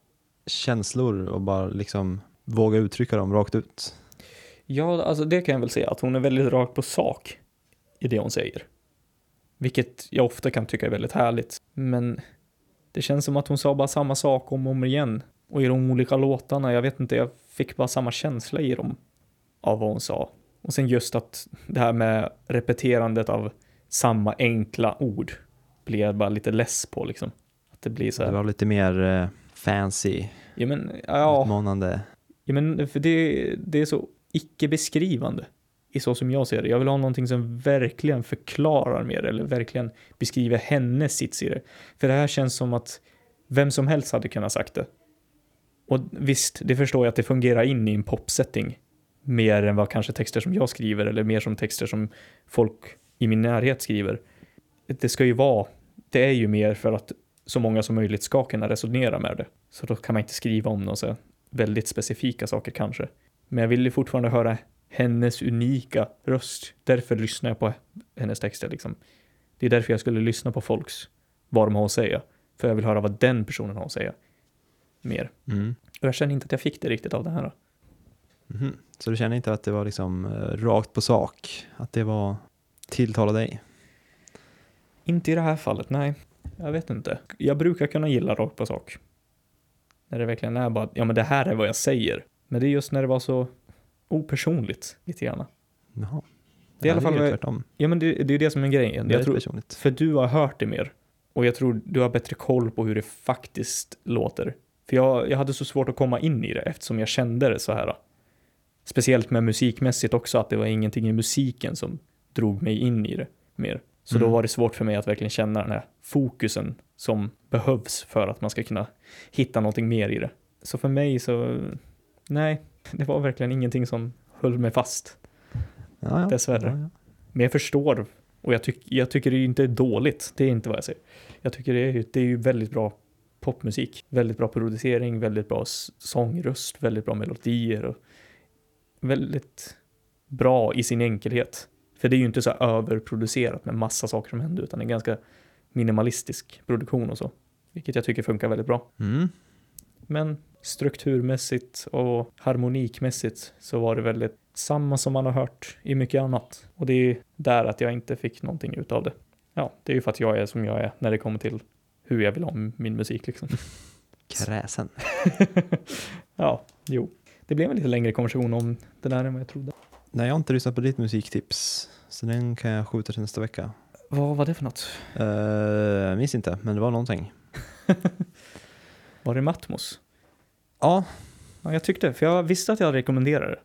[SPEAKER 1] känslor och bara liksom våga uttrycka dem rakt ut.
[SPEAKER 2] Ja, alltså det kan jag väl säga, att hon är väldigt rakt på sak i det hon säger. Vilket jag ofta kan tycka är väldigt härligt. Men det känns som att hon sa bara samma sak om och om igen. Och i de olika låtarna, jag vet inte, jag fick bara samma känsla i dem av vad hon sa. Och sen just att det här med repeterandet av samma enkla ord blir jag bara lite less på liksom. Att det blir så
[SPEAKER 1] Det
[SPEAKER 2] här,
[SPEAKER 1] var lite mer eh, fancy,
[SPEAKER 2] ja men, ja.
[SPEAKER 1] utmanande.
[SPEAKER 2] Ja, men för det, det är så icke-beskrivande i så som jag ser det. Jag vill ha någonting som verkligen förklarar mer eller verkligen beskriver hennes sits i det. För det här känns som att vem som helst hade kunnat sagt det. Och visst, det förstår jag att det fungerar in i en popsetting mer än vad kanske texter som jag skriver eller mer som texter som folk i min närhet skriver. Det ska ju vara, det är ju mer för att så många som möjligt ska kunna resonera med det. Så då kan man inte skriva om det och säga väldigt specifika saker kanske. Men jag vill ju fortfarande höra hennes unika röst. Därför lyssnar jag på hennes texter liksom. Det är därför jag skulle lyssna på folks, vad de har att säga. För jag vill höra vad den personen har att säga. Mer.
[SPEAKER 1] Mm.
[SPEAKER 2] Och jag känner inte att jag fick det riktigt av det här.
[SPEAKER 1] Mhm. Så du känner inte att det var liksom eh, rakt på sak? Att det var tilltala dig?
[SPEAKER 2] Inte i det här fallet, nej. Jag vet inte. Jag brukar kunna gilla rakt på sak. När det verkligen är bara, ja men det här är vad jag säger. Men det är just när det var så opersonligt, lite grann.
[SPEAKER 1] Jaha.
[SPEAKER 2] Det är i alla
[SPEAKER 1] Ja,
[SPEAKER 2] fall
[SPEAKER 1] ju
[SPEAKER 2] vad-
[SPEAKER 1] tvärtom.
[SPEAKER 2] Ja men det, det är ju det som är grejen.
[SPEAKER 1] Det
[SPEAKER 2] Jag
[SPEAKER 1] är
[SPEAKER 2] tror,
[SPEAKER 1] personligt.
[SPEAKER 2] För du har hört det mer. Och jag tror du har bättre koll på hur det faktiskt låter. För jag, jag hade så svårt att komma in i det eftersom jag kände det så här. Speciellt med musikmässigt också, att det var ingenting i musiken som drog mig in i det mer. Så
[SPEAKER 1] Mm.
[SPEAKER 2] då var det svårt för mig att verkligen känna den här fokusen som behövs för att man ska kunna hitta någonting mer i det. Så för mig så, nej, det var verkligen ingenting som höll mig fast.
[SPEAKER 1] Ja, ja.
[SPEAKER 2] dessvärre.
[SPEAKER 1] Ja, ja.
[SPEAKER 2] Men jag förstår och jag, tyck, jag tycker det ju inte är dåligt. Det är inte vad jag säger. Jag tycker det är, ju- det är ju väldigt bra popmusik. Väldigt bra producering, väldigt bra s- sångröst, väldigt bra melodier och väldigt bra i sin enkelhet. För det är ju inte så här överproducerat med massa saker som händer utan det är ganska minimalistisk produktion och så. Vilket jag tycker funkar väldigt bra.
[SPEAKER 1] Mm.
[SPEAKER 2] Men strukturmässigt och harmonikmässigt så var det väldigt samma som man har hört i mycket annat. Och det är där att jag inte fick någonting utav det. Ja, det är ju för att jag är som jag är när det kommer till hur jag vill ha min musik liksom.
[SPEAKER 1] Kräsen.
[SPEAKER 2] Ja, jo. Det blev en lite längre konversation om det där än vad jag trodde.
[SPEAKER 1] Nej, jag har inte lyssnat på ditt musiktips. Så den kan jag skjuta till nästa vecka.
[SPEAKER 2] Vad var det för något?
[SPEAKER 1] Eh, Jag minns inte, men det var någonting.
[SPEAKER 2] Var det Matmos?
[SPEAKER 1] Ja,
[SPEAKER 2] Ja, jag tyckte, för jag visste att jag rekommenderade det.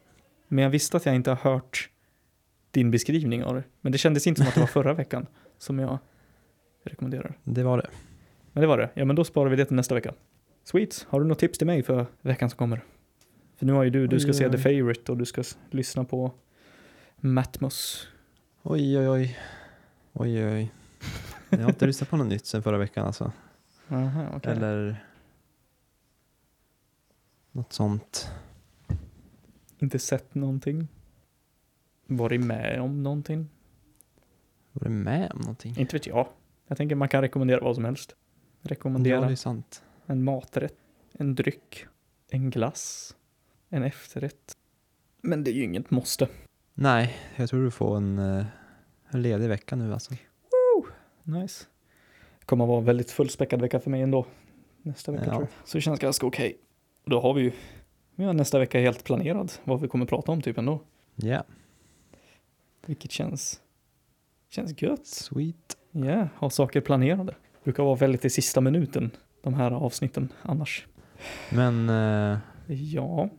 [SPEAKER 2] Men jag visste att jag inte har hört din beskrivning av det. Men det kändes inte som att det var förra veckan som jag rekommenderade.
[SPEAKER 1] det var det.
[SPEAKER 2] Men det var det. Ja, men då sparar vi det till nästa vecka. Sweet. Har du något tips till mig för veckan som kommer? För nu har ju du, du ska
[SPEAKER 1] Oj,
[SPEAKER 2] se
[SPEAKER 1] oj,
[SPEAKER 2] The
[SPEAKER 1] oj.
[SPEAKER 2] Favourite och du ska s- lyssna på Matmos.
[SPEAKER 1] Oj, oj, oj. Oj, oj, oj. Jag har inte lyssnat på något nytt sen förra veckan alltså.
[SPEAKER 2] Aha, okej.
[SPEAKER 1] Eller något sånt.
[SPEAKER 2] Inte sett någonting. Varit med om någonting.
[SPEAKER 1] Var det med om någonting?
[SPEAKER 2] Inte vet jag. Jag tänker man kan rekommendera vad som helst.
[SPEAKER 1] Ja, det
[SPEAKER 2] Rekommendera.
[SPEAKER 1] är sant.
[SPEAKER 2] en maträtt, en dryck, en glass, en efterrätt. Men det är ju inget måste.
[SPEAKER 1] Nej, jag tror du får en, eh, en ledig vecka nu alltså.
[SPEAKER 2] Nice. Det kommer att vara en väldigt fullspäckad vecka för mig ändå. Nästa vecka
[SPEAKER 1] Ja.
[SPEAKER 2] tror jag. Så det känns ganska okej. Då har vi ju vi har nästa vecka helt planerad vad vi kommer prata om typ ändå.
[SPEAKER 1] Ja,
[SPEAKER 2] Vilket känns, känns gött.
[SPEAKER 1] sweet.
[SPEAKER 2] Ja, ha saker planerade. Brukar vara väldigt i sista minuten, de här avsnitten annars.
[SPEAKER 1] Men eh,
[SPEAKER 2] Ja,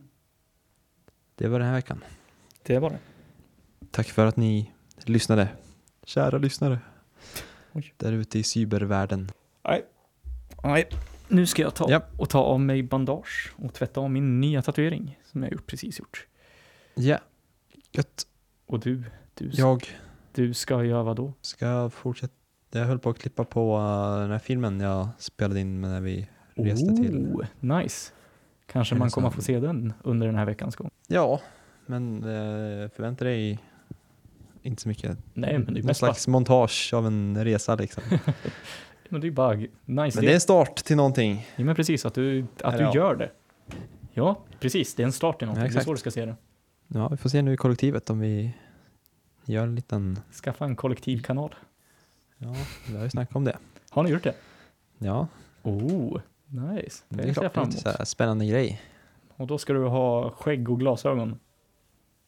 [SPEAKER 1] det var den här veckan.
[SPEAKER 2] det var det.
[SPEAKER 1] Tack för att ni lyssnade. Kära lyssnare.
[SPEAKER 2] Oj.
[SPEAKER 1] Där ute i cybervärlden.
[SPEAKER 2] Nej, nu ska jag ta
[SPEAKER 1] Ja.
[SPEAKER 2] och ta av mig bandage och tvätta av min nya tatuering som jag gjort- precis gjort.
[SPEAKER 1] Ja, gött.
[SPEAKER 2] Och du, du, ska-
[SPEAKER 1] Jag
[SPEAKER 2] du ska göra vad då?
[SPEAKER 1] Ska fortsätta? Jag höll på att klippa på eh, den här filmen jag spelade in med när vi reste till.
[SPEAKER 2] Oh, Nice. Kanske man kommer få se den under den här veckans gång.
[SPEAKER 1] Ja, men eh, förvänta dig inte så mycket.
[SPEAKER 2] Nej, men det är
[SPEAKER 1] Mm, Någon
[SPEAKER 2] mest bara,
[SPEAKER 1] slags montage av en resa liksom.
[SPEAKER 2] men det är bara nice.
[SPEAKER 1] Men
[SPEAKER 2] Det,
[SPEAKER 1] det är en start till någonting.
[SPEAKER 2] ja, men precis, att du, att du
[SPEAKER 1] Ja.
[SPEAKER 2] gör det. Ja, precis. Det är en start till någonting. det är
[SPEAKER 1] exakt.
[SPEAKER 2] så du ska se det.
[SPEAKER 1] Ja, vi får se nu i kollektivet om vi gör en liten...
[SPEAKER 2] Skaffa en kollektivkanal.
[SPEAKER 1] Ja, vi har ju snackat om det.
[SPEAKER 2] Har ni gjort det?
[SPEAKER 1] Ja,
[SPEAKER 2] Oh, nice.
[SPEAKER 1] det
[SPEAKER 2] Det,
[SPEAKER 1] är
[SPEAKER 2] ser
[SPEAKER 1] klart. Det
[SPEAKER 2] jag
[SPEAKER 1] är
[SPEAKER 2] fram
[SPEAKER 1] lite
[SPEAKER 2] emot.
[SPEAKER 1] så här spännande grej.
[SPEAKER 2] Och då ska du ha skägg och glasögon.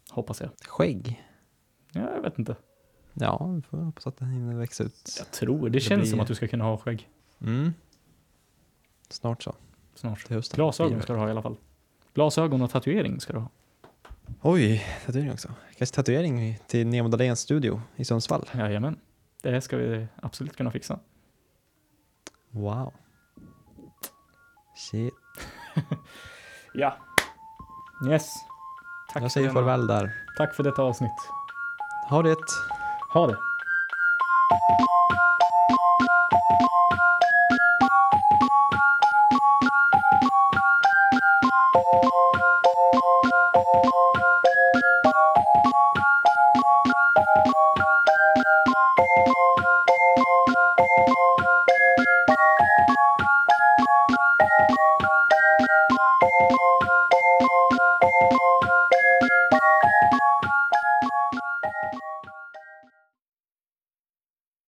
[SPEAKER 2] Hoppas jag.
[SPEAKER 1] Skägg?
[SPEAKER 2] Ja, jag vet inte.
[SPEAKER 1] Ja, vi får hoppas att den hinner växa ut.
[SPEAKER 2] Jag tror det.
[SPEAKER 1] Det
[SPEAKER 2] känns
[SPEAKER 1] blir-
[SPEAKER 2] som att du ska kunna ha skägg
[SPEAKER 1] Mm. Snart så,
[SPEAKER 2] snart.
[SPEAKER 1] till hösten.
[SPEAKER 2] Glasögon ska du ha i alla fall. Glasögon och tatuering ska du ha.
[SPEAKER 1] Oj, tatuering också. Kanske tatuering till Nemo Dahléns studio i Sundsvall.
[SPEAKER 2] Jajamän. Det ska vi absolut kunna fixa.
[SPEAKER 1] Wow. Shit.
[SPEAKER 2] Ja. Yes. Tack
[SPEAKER 1] Jag
[SPEAKER 2] för
[SPEAKER 1] säger
[SPEAKER 2] denna-
[SPEAKER 1] farväl där.
[SPEAKER 2] Tack för detta avsnitt.
[SPEAKER 1] Ha det!
[SPEAKER 2] Ha det.